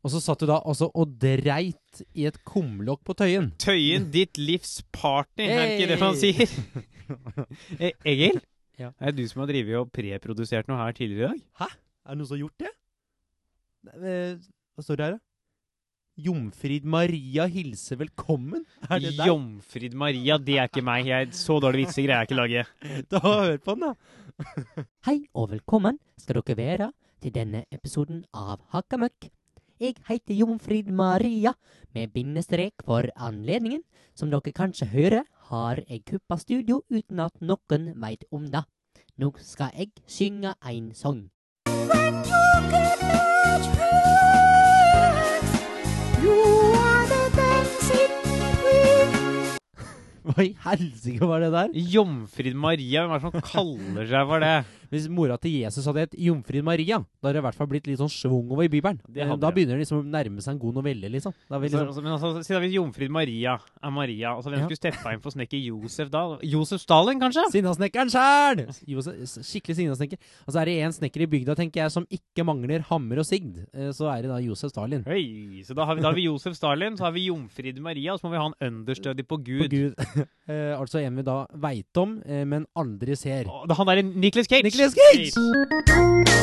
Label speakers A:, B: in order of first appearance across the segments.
A: Og så satt du da også og dreit i et kumlokk på Tøyen.
B: Tøyen, ditt livs partner, er det ikke det man
A: Hey!
B: sier? Eh, Egil?
A: Ja.
B: Er det du som har drevet og preprodusert noe her tidligere i dag?
A: Er det noen som har gjort det? Nei, eh, Hva står det her, da? Jomfrid Maria hilser velkommen. Er det deg?
B: Jomfrid Maria, det er ikke meg. Jeg, så dårlige vitser greier jeg ikke å lage.
A: Da Hør på den, da.
C: Hei og velkommen skal dere være til denne episoden av Hakkamøkk. Jeg heter Jomfrid Maria, med bindestrek for anledningen. Som dere kanskje hører, har jeg kuppa studio uten at noen veit om det. Nå skal jeg synge en sang.
A: Hva i helsike var det der?
B: Jomfrid Maria, hvem er det som kaller seg for det?
A: Hvis mora til Jesus hadde hett Jomfrid Maria, da hadde det i hvert fall blitt litt sånn schwung over i bibelen.
B: Det hadde
A: Da
B: det.
A: begynner det liksom å nærme seg en god novelle, liksom. Da er vi
B: Altså,
A: liksom
B: altså, men altså, Si da hvis Jomfrid Maria er Maria. Altså, Hvem
A: Ja.
B: skulle steppa inn for snekker Josef da? Josef Stalin, kanskje?
A: Sinnasnekkeren sjæl! Skikkelig sinnasnekker. Og så er det én snekker i bygda tenker jeg, som ikke mangler hammer og sigd. Eh, Så er det da Josef Stalin.
B: Hei, så da har, vi, da har vi Josef Stalin, så har vi Jomfrid Maria, og så må vi ha en understudy på Gud.
A: På Gud. Eh, altså en vi da veit om, eh, men aldri ser.
B: Å, det- Han er en Nicholas Cage.
A: Nicolas Cage!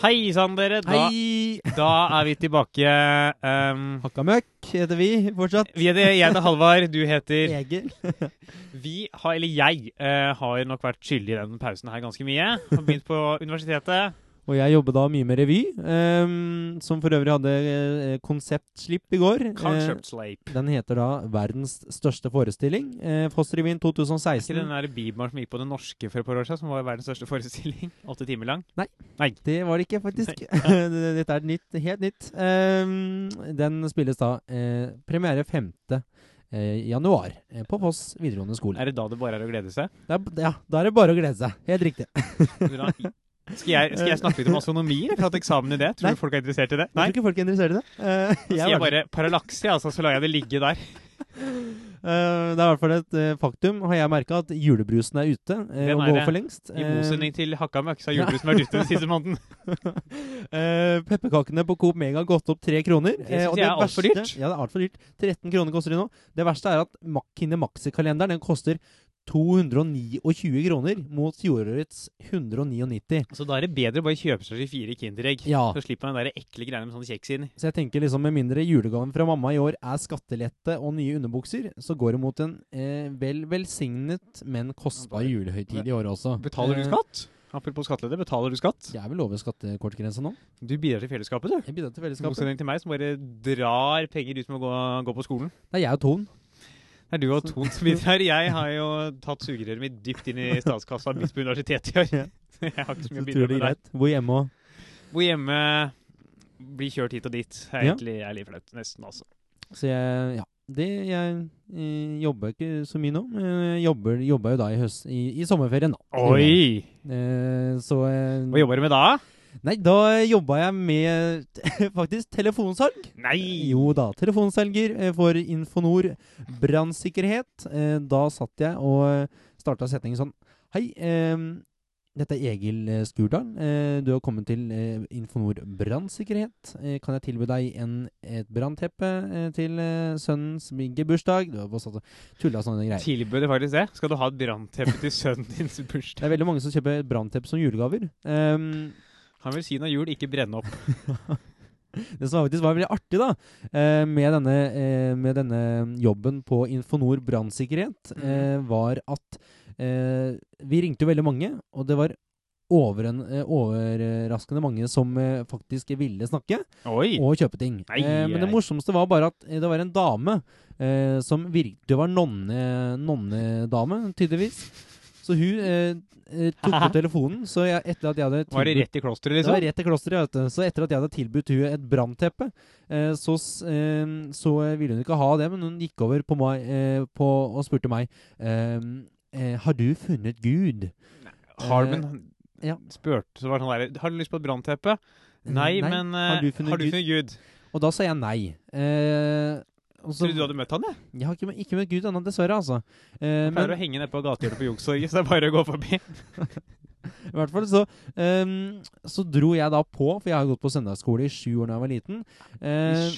B: Hei sann, dere. Da,
A: Hei!
B: da er vi tilbake. ehm,
A: Hakka møkk heter vi fortsatt.
B: vi heter, jeg heter Halvard, du heter
A: Egil.
B: Vi har, eller jeg, eh, har nok vært skyldig i den pausen her ganske mye. Har begynt på universitetet.
A: Og jeg jobber da mye med revy, ehm, som for øvrig hadde eh, konseptslipp i går. Eh,
B: Concept Slape.
A: den heter da 'Verdens største forestilling'. Eh, Fossrevyen
B: Er ikke
A: 2016.
B: den der Bibelen som gikk på Det Norske for et par år siden, som var verdens største forestilling? Åtte timer lang?
A: Det var det ikke, faktisk. Dette er nytt, helt nytt. Ehm, den spilles da eh, premiere 5. eh, januar eh, på Voss videregående skole.
B: Er det da det bare er å glede seg?
A: Det er, ja, da er det bare å glede seg. Helt riktig.
B: Skal jeg, skal jeg snakke litt om astronomi? Jeg har hatt eksamen i det. Tror
A: Nei.
B: du folk er interessert i det?
A: Jeg
B: Nei.
A: tror ikke folk er interessert i det. Eh, jeg
B: Så sier
A: var
B: jeg bare paralakse, altså, så lar jeg det ligge der.
A: Eh, det er i hvert fall et eh, faktum, har jeg merka, at julebrusen er ute. Uh,
B: Den
A: og
B: er
A: går
B: det.
A: for lengst.
B: I
A: Eh,
B: motsetning til hakka møkk, så har julebrusen vært ute den siste måneden.
A: eh, pepperkakene på Coop Mega har gått opp tre kroner.
B: Det
A: eh,
B: synes
A: og
B: jeg er alt for
A: verste-
B: dyrt.
A: Ja, det er altfor dyrt. 13 kroner koster de nå. Det verste er at Mac- Kine Maxi-kalenderen den koster 229 kroner mot fjorårets 199.
B: Så da er det bedre å bare kjøpe seg 24 Kinderegg.
A: Ja.
B: Så slipper man den der ekle greia med sånn kjeks inni.
A: Så jeg tenker liksom med mindre julegaven fra mamma i år er skattelette og nye underbukser, så går det mot en eh, vel velsignet, men kostbar julehøytid i år også.
B: Betaler du
A: Eh,
B: skatt? Apropos skattelette, betaler du skatt?
A: Jeg er vel over skattekortgrensa nå.
B: Du bidrar til fellesskapet, du.
A: Jeg bidrar til
B: I
A: fellesskapet.
B: motsetning til meg, som bare drar penger ut med å gå, gå på skolen.
A: Det er jeg og Ton.
B: Det er du og Ton som bidrar. Jeg har jo tatt sugerøret mitt dypt inn i statskassa midt på universitetet i år.
A: Ja.
B: Jeg har ikke så mye
A: Så tror
B: å bidra
A: det er
B: med der.
A: greit. Hvor hjemme og
B: Bo hjemme, bli kjørt hit og dit. Det er
A: Ja.
B: egentlig er litt flaut, nesten, altså.
A: Så jeg, ja. Det, jeg eh, jobber ikke så mye nå. men Jeg jobber, jobba jo da i, høst, i, i sommerferien, da.
B: Oi!
A: Eh, så eh,
B: Hva jobber du med da?
A: Nei, da jobba jeg med faktisk telefonsalg.
B: Nei!
A: Jo da, telefonselger eh, for Infonor brannsikkerhet. Eh, Da satt jeg og starta setningen sånn Hei, eh, dette er Egil eh, Skurdal. Eh, Du har kommet til eh, Infonor brannsikkerhet. Eh, Kan jeg tilby deg en, et brannteppe eh, til eh, sønnens mygge bursdag? Du har bare satt og tulla sånne greier.
B: Tilbød du faktisk det? Skal du ha et brannteppe til sønnen dins
A: Det
B: bursdag?
A: er veldig mange som kjøper brannteppe som julegaver. Eh,
B: Han vil si noe jul, ikke brenne opp.
A: Det som faktisk var veldig artig da, eh, med denne, eh, med denne jobben på Infonor brannsikkerhet,
B: Mm.
A: eh, var at eh, vi ringte jo veldig mange, og det var over en, eh, overraskende mange som eh, faktisk ville snakke
B: Oi!
A: og kjøpe ting.
B: Nei,
A: eh, men det
B: nei.
A: morsomste var bare at eh, det var en dame eh, som virkelig var nonne, nonnedame, tydeligvis. Så hun eh, eh, tok opp telefonen, så jeg, etter at jeg hadde
B: Var det
A: tilbudt-
B: rett i klosteret,
A: det var
B: liksom?
A: rett til klosteret, vet du. Så etter at jeg hadde tilbudt hun et brannteppe, eh, så, s- eh, så ville hun ikke ha det, men hun gikk over på meg eh, på, og spurte meg ehm, eh, Har du funnet Gud?
B: Harmen
A: Eh, ja.
B: spurte, så var det sånn der Har du lyst på et brannteppe? Nei, men eh,
A: har du funnet
B: Gud?
A: Og da sa jeg nei. Eh, og så-
B: Trodde du hadde møtt han, jeg.
A: Jeg har ikke, mø- ikke møtt Gud ennå, dessverre, altså. Eh,
B: Jeg pleier
A: men
B: å henge nedpå gatehjørnet på Youngstorget, så det er bare å gå forbi.
A: i hvert fall så ehm, Så dro jeg da på, for jeg har gått på søndagsskole i sju år da jeg var liten. Eh,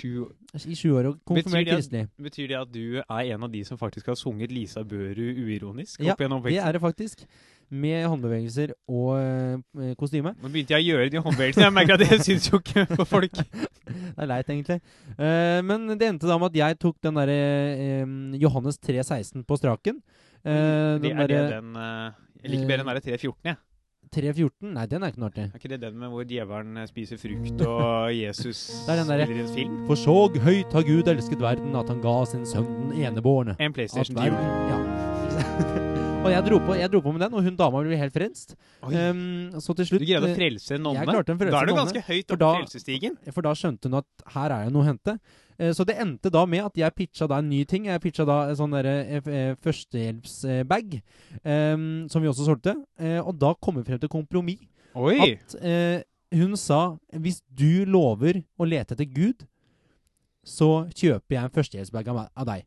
A: I sju år og konfirmert
B: det at-
A: kristelig.
B: Betyr det at du er en av de som faktisk har sunget Lisa Børu uironisk?
A: Ja,
B: opp gjennom
A: Det
B: oppveksten?
A: er det faktisk. Med håndbevegelser og eh, kostyme.
B: Nå begynte jeg å gjøre de håndbevegelsene. Jeg merker at det syns jo ikke på folk.
A: Det er leit, egentlig. Eh, men det endte da med at jeg tok den derre eh, Johannes 3.16 på straken. Eh,
B: Mm, Det
A: den
B: er det
A: derre
B: den eh, Jeg liker bedre den derre 314, jeg.
A: 3.14 Nei, den er ikke noe artig.
B: Er ikke det den med hvor djevelen eh, spiser frukt og Jesus
A: Det er den derre-
B: spiller i en film?
A: For såg høyt har Gud elsket verden, at han ga sin sønn den enebårne. At
B: En PlayStation 10.
A: verden Ja. og jeg dro, på, jeg dro på med den, og hun dama ble helt frelst.
B: Oi.
A: Eh, så til
B: Du
A: slutt
B: greide å
A: eh,
B: frelse en nonne?
A: jeg klarte å frelse
B: da er du
A: en nonne,
B: ganske høyt
A: for
B: oppe
A: da-
B: frelsestigen.
A: For da skjønte hun at her er det noe å hente. Eh, Så det endte da med at jeg pitcha da en ny ting. Jeg pitcha da en sånn derre eh, f- eh, førstehjelpsbag, em, som vi også solgte. Eh, Og da kom vi frem til kompromiss.
B: Oi!
A: At eh, hun sa hvis du lover å lete etter Gud, så kjøper jeg en førstehjelpsbag av meg- av deg.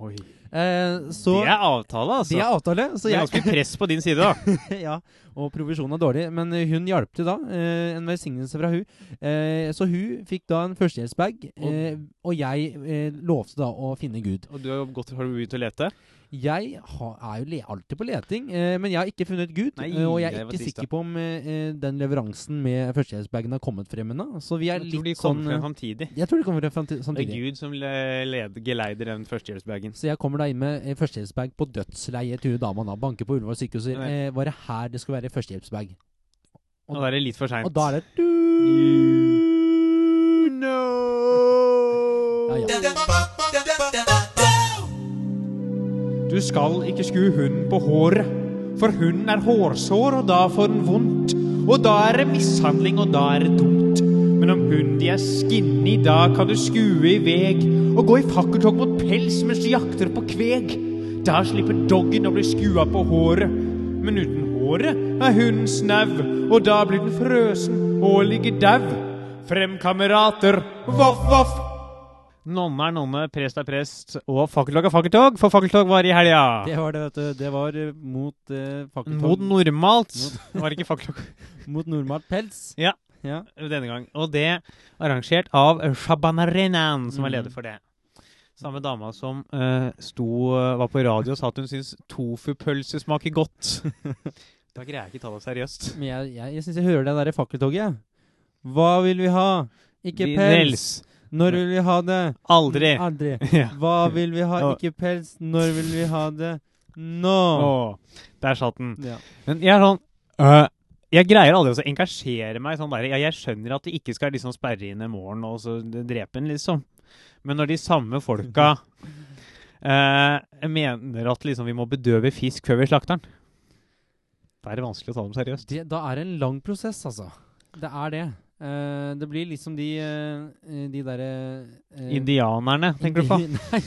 B: Oi.
A: Eh, Så
B: Det er avtale, altså.
A: det er avtale. Så
B: Det er
A: jeg,
B: ganske press på din side, da.
A: ja, og provisjonen er dårlig, men eh, hun hjalp til da. Eh, en velsignelse fra hun. Eh, så hun fikk da en førstehjelpsbag, eh, og jeg eh, lovte da å finne Gud.
B: Og du har godt har du begynt å lete?
A: Jeg har, er jo le, alltid på leting, eh, men jeg har ikke funnet Gud.
B: Nei,
A: eh, og jeg
B: det
A: er
B: var
A: ikke
B: trist, da.
A: sikker på om eh, eh, den leveransen med førstehjelpsbagen har kommet frem ennå. Så vi er
B: Jeg tror de
A: litt sånn
B: kommer
A: eh,
B: frem
A: sånn
B: samtidig.
A: Jeg tror de kommer frem samti-
B: Det er
A: samtidig.
B: Gud som le- led- geleider den førstehjelpsbagen.
A: Så jeg kommer da inn med eh, førstehjelpsbag på dødsleie til hun dama da. Banker på Ullevål sykehus. og sier, Eh,
B: Nei.
A: var det her det skulle være førstehjelpsbag?
B: Og da er det litt for seint.
A: Og da er det
B: No!
A: Ja, ja.
B: Du skal ikke skue hunden på håret, for hunden er hårsår, og da får den vondt. Og da er det mishandling, og da er det dumt. Men om hunden de er skinny, da kan du skue i veg og gå i fakkeltog mot pels mens du jakter på kveg. Da slipper doggen å bli skua på håret. Men uten håret er hunden snau, og da blir den frøsen og ligger dau. Frem, kamerater, voff, voff. Nonne er nonne, prest er prest, og fakkeltog er fakkeltog, for fakkeltog var i helga.
A: Det var det, vet du. Det var eh, mot eh, fakkeltog.
B: Mot normalt var ikke fakkeltog
A: mot normalt pels.
B: Ja.
A: Ja.
B: denne gang. Og det arrangert av Shabanarenan, som er leder for det. Samme dama som eh, sto, eh, var på radio og sa at hun syns tofupølse smaker godt. Da greier jeg ikke ta det seriøst.
A: Men jeg, jeg, jeg syns jeg hører det derre fakkeltoget. Hva vil vi ha? Ikke pels.
B: Nils.
A: Når vil vi ha det?
B: Aldri.
A: Aldri.
B: Ja.
A: Hva vil vi ha?
B: Ja.
A: Ikke pels. Når vil vi ha det? Nå.
B: Åh, der satt den.
A: Ja.
B: Men jeg er sånn øh, Jeg greier aldri å engasjere meg sånn der. Jeg, jeg skjønner at de ikke skal liksom sperre inn en morgen og så d- drepe en, liksom. Men når de samme folka øh, mener at liksom vi må bedøve fisk før vi slakter den Da er det vanskelig å ta dem seriøst.
A: Det, da er det en lang prosess, altså. Det er det. Eh, det blir liksom de eh, De derre eh,
B: Indianerne, tenker du på?
A: Indi- Nei,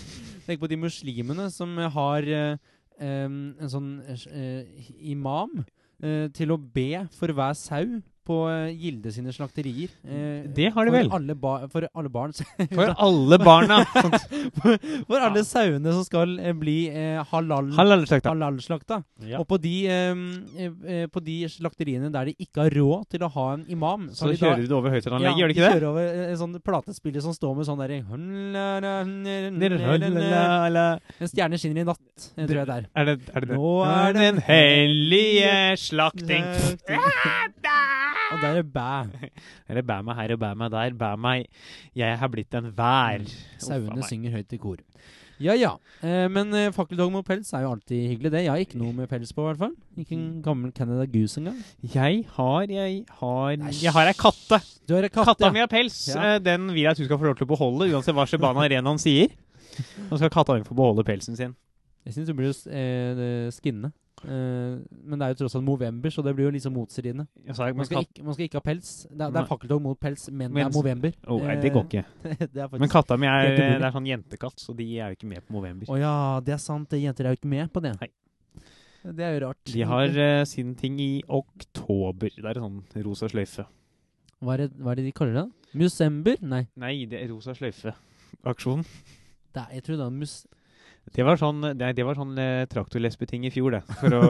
A: tenk på de muslimene som har eh, em, en sånn eh, imam eh, til å be for hver sau på eh, Gilde sine slakterier. eh,
B: Det har de vel.
A: For alle, ba for alle barn
B: For alle barna. Sånn,
A: For alle sauene som skal eh, bli eh, halal,
B: Halalslakta.
A: halalslakta.
B: Ja.
A: Og på de, em, eh, eh, på de slakteriene der de ikke har råd til å ha en imam
B: Så
A: har de da-
B: kjører du det over høyttaleranlegget, gjør
A: de
B: du ikke det?
A: kjører over eh, en sånn platespiller som står med sånn derre
B: Er
A: en stjerne skinner i natt, eh, tror jeg det er.
B: det er det det?
A: Nå er det-
B: den hellige slakting. Ah,
A: Og der er bæ.
B: Eller bæ meg her og bæ meg der. Bæ meg Jeg har blitt en vær. Uffa
A: Mm. Sauene
B: meg.
A: synger høyt i kor. Ja ja. Eh, men eh, fakkeltog med pels er jo alltid hyggelig, det. Jeg har ikke noe med pels på, i hvert fall. Ikke en gammel Canada Goose engang.
B: Jeg har Jeg har
A: Æsj.
B: Jeg har ei katte.
A: Du har en katt,
B: Katta
A: ja.
B: mi har pels.
A: Ja.
B: Eh, Den vil jeg at du skal få lov til å beholde, uansett hva Shebana Arenaen sier. Nå skal katta mi få beholde pelsen sin.
A: Jeg syns du burde eh, skinne. Eh, men det er jo tross alt november, så det blir jo liksom motstridende.
B: Jeg sa,
A: Man
B: men
A: skal,
B: katt,
A: ikke, man skal ikke ha pels. Det er, det
B: Nei.
A: er fakkeltog mot pels, men det
B: Men-
A: er november.
B: oh, nei, det går ikke.
A: ikke. det er
B: Men
A: faktisk
B: katta mi er,
A: Helt umulig.
B: det er sånn jentekatt, så de er jo ikke med på Movember.
A: Å ja, det er sant. det Jenter er jo ikke med på det.
B: Nei.
A: Det er jo rart.
B: De har eh, sin ting i oktober. Det er en sånn rosa sløyfe.
A: Hva er det, hva er det de kaller det? Musember? Nei.
B: Nei, det er rosa sløyfe-aksjonen.
A: Det er, jeg tror det er mus...
B: Det var sånn, nei, det var sånn eh, traktorlesbeting i fjor, det. For, å,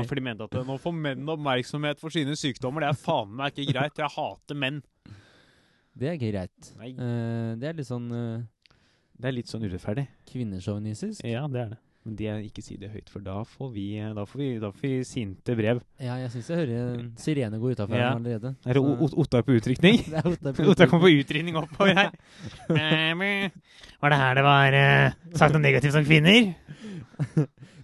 A: Ok.
B: for de mente at eh, nå får menn oppmerksomhet for sine sykdommer. Det er faen meg ikke greit. Jeg hater menn.
A: Det er greit.
B: Nei,
A: Eh, det er litt sånn uh,
B: det er litt sånn urettferdig.
A: kvinnesjåvinistisk.
B: Ja, det er det. Men de, ikke si det høyt, for da får vi, eh, da får vi, da får vi sinte brev.
A: Ja, jeg syns jeg hører en sirene gå utafor
B: Ja.
A: her allerede.
B: Er det
A: Så-
B: O- O- Ottar på utrykning?
A: Det er Otta på
B: Ottar kommer på utrykning oppover her. Eh, Var det her det var eh, sagt noe negativt om kvinner?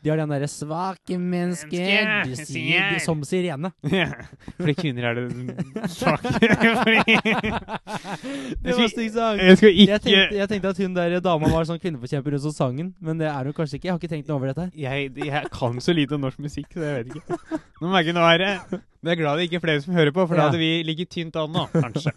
A: De har den derre 'svake mennesker', du
B: Mennesker,
A: sier de
B: sier.
A: som sirene.
B: Ja, fordi kvinner er det svake. Fordi
A: Det var stygg sang.
B: Jeg skal
A: Jeg
B: ikke
A: tenkte, jeg tenkte at hun der dama var sånn kvinneforkjemper rundt som sangen, men det er hun kanskje ikke. Jeg har ikke tenkt noe over dette. her.
B: jeg, jeg kan så lite om norsk musikk, så jeg vet ikke. Nå merker jeg nå er det Men jeg er glad det ikke er flere som hører på, for da
A: Ja.
B: hadde vi ligget tynt an nå, kanskje.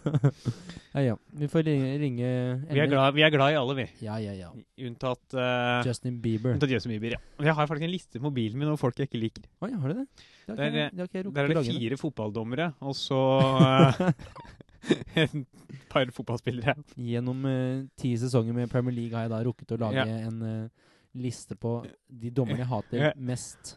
A: Ja, ja. Vi får ringe, ringe
B: Vi er
A: Emil.
B: glad, vi er glad i alle, vi.
A: Ja, ja, ja.
B: Unntatt eh,
A: Justin Bieber.
B: Unntatt Justin Bieber, ja. Og Jeg har faktisk en liste på mobilen min over folk jeg ikke liker.
A: Oi, har du det? Det har
B: Der,
A: ikke,
B: eh,
A: det har ikke jeg rukket
B: Der er
A: å
B: det
A: lage. ennå.
B: fire fotballdommere, og så eh, et par fotballspillere.
A: Gjennom eh, ti sesonger med Premier League har jeg da rukket å lage
B: Ja.
A: en eh, liste på de dommerne jeg hater
B: Ja.
A: mest.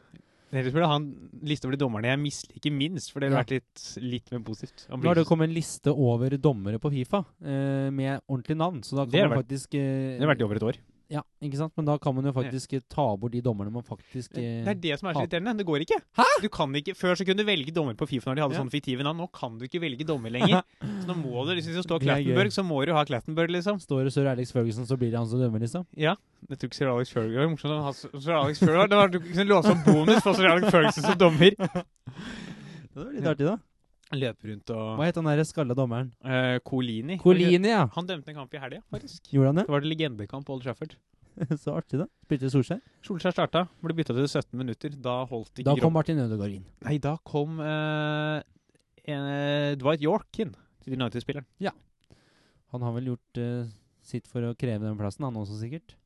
B: Ellers burde jeg ha en liste over de dommerne jeg misliker minst, for det
A: Ja.
B: hadde vært litt, litt mer positivt.
A: Nå
B: Han
A: har
B: blir-
A: det kommet en liste over dommere på Fifa eh, med ordentlig navn, så da
B: Det
A: kan
B: har
A: man
B: vært-
A: faktisk eh,
B: det har vært i over et år.
A: Ja, ikke sant? Men da kan man jo faktisk eh, ta bort de dommerne man faktisk
B: Det
A: eh,
B: det er det som er så irriterende. Det går ikke. Du kan ikke. Før så kunne du velge dommer på Fifa når de hadde
A: Ja.
B: sånne fiktive navn. Nå kan du ikke velge dommer lenger. Så nå må du, hvis det står
A: Det er gøy.
B: Clattenburg, så må du ha Clattenburg, liksom.
A: Står det sir Alex Ferguson, så blir det han som dømmer, liksom.
B: Ja. Jeg tror ikke Sir Alex Ferguson det var morsomt. å ha Sir Alex Ferguson. Det var du kunne låse opp bonus for Sir Alex Ferguson som dommer.
A: Det var litt artig, da.
B: Løpe rundt og
A: Hva het han derre skalla dommeren?
B: Eh, Colini.
A: Colini, ja.
B: Han dømte en kamp i helga, faktisk.
A: Gjorde han
B: Det var det legendekamp på Old Trafford.
A: det? så artig, da. Spilte Solskjær.
B: Solskjær starta, ble bytta til 17 minutter. Da holdt ikke
A: Da kom
B: kroppen.
A: Martin Ødegaard inn.
B: Nei, da kom eh, eh, Dwight York inn. til United-spilleren.
A: Han har vel gjort eh, sitt for å kreve den plassen, han også, sikkert.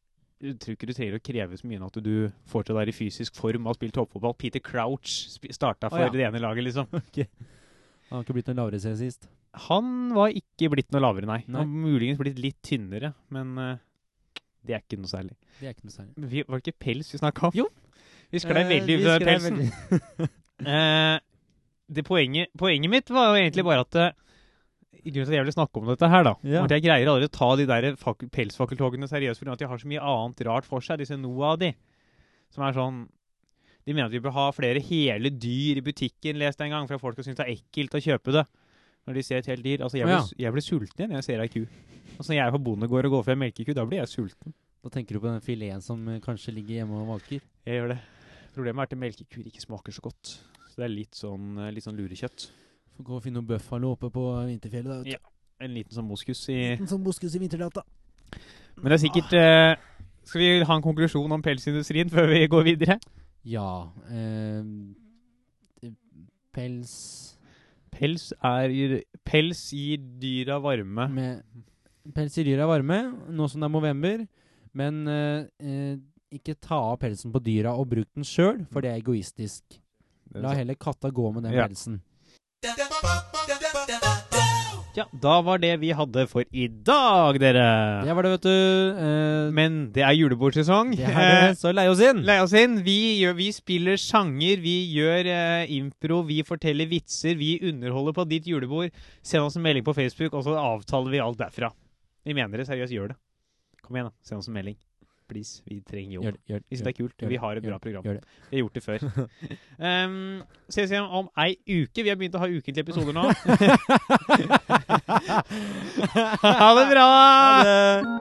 B: Jeg tror ikke du trenger å kreve så mye nå at du får til å være i fysisk form og har spilt toppfotball. Peter Crouch sp starta for
A: Å, ja.
B: det ene laget, liksom.
A: Han har ikke blitt noe lavere siden sist.
B: Han var ikke blitt noe lavere, nei.
A: Nei.
B: Han har muligens blitt litt tynnere, men eh, det er ikke noe særlig.
A: Det er ikke noe særlig.
B: Men Vi, var det ikke pels vi snakka om?
A: Jo.
B: Vi sklei
A: Eh,
B: veldig
A: vi
B: ut av
A: sklei
B: pelsen.
A: veldig.
B: Eh, det poenget, poenget mitt var jo egentlig bare at eh, i grunnen til at jeg ville snakke om dette her, da.
A: Ja.
B: var At jeg greier aldri å ta de der fak- pelsfakkeltogene seriøst fordi at de har så mye annet rart for seg, disse Noah og de. Som er sånn De mener at vi bør ha flere hele dyr i butikken, leste jeg en gang, for at folk skal synes det er ekkelt å kjøpe det. Når de ser et helt dyr. Altså, jeg blir,
A: Ja.
B: jeg blir sulten igjen når jeg ser ei ku. Altså, når jeg er på bondegård og går for en melkeku, da blir jeg sulten.
A: Da tenker du på den fileten som eh, kanskje ligger hjemme og vaker.
B: Jeg gjør det. Problemet er at melkekuer ikke smaker så godt. Så det er litt sånn, eh, litt sånn lurekjøtt.
A: Får gå og finne noe bøffalo oppe på vinterfjellet, da. vet du.
B: Ja. En liten sånn moskus i
A: Som buskes i vinterdata.
B: Men det er sikkert eh, Skal vi ha en konklusjon om pelsindustrien før vi går videre?
A: Ja. ehm, eh, pels
B: Pels, er, pels gir dyra varme.
A: med Pels i dyr er varme, nå som det er november. Men eh, eh, ikke ta av pelsen på dyra og bruk den sjøl, for det er egoistisk. La heller katta gå med den
B: Ja.
A: pelsen.
B: Ja, da var det vi hadde for i dag, dere.
A: Det var det, vet du. Eh,
B: Men det er julebordsesong.
A: det er det, så leie oss inn!
B: Eh, Leie oss inn. Vi, gjør, vi spiller sanger, vi gjør eh, impro, vi forteller vitser, vi underholder på ditt julebord. Send oss en melding på Facebook, og så avtaler vi alt derfra. Vi mener det seriøst. Gjør det. Kom igjen, da. Send oss en melding. Please. Vi trenger jobb.
A: Gjør det, gjør det,
B: Vi
A: gjør
B: synes det er kult.
A: gjør
B: Vi
A: det,
B: har et
A: gjør
B: bra program.
A: gjør det.
B: Vi har gjort det før. Um, ses igjen om ei uke. Vi har begynt å ha ukentlige episoder nå. ha det bra!
A: det. Ha det.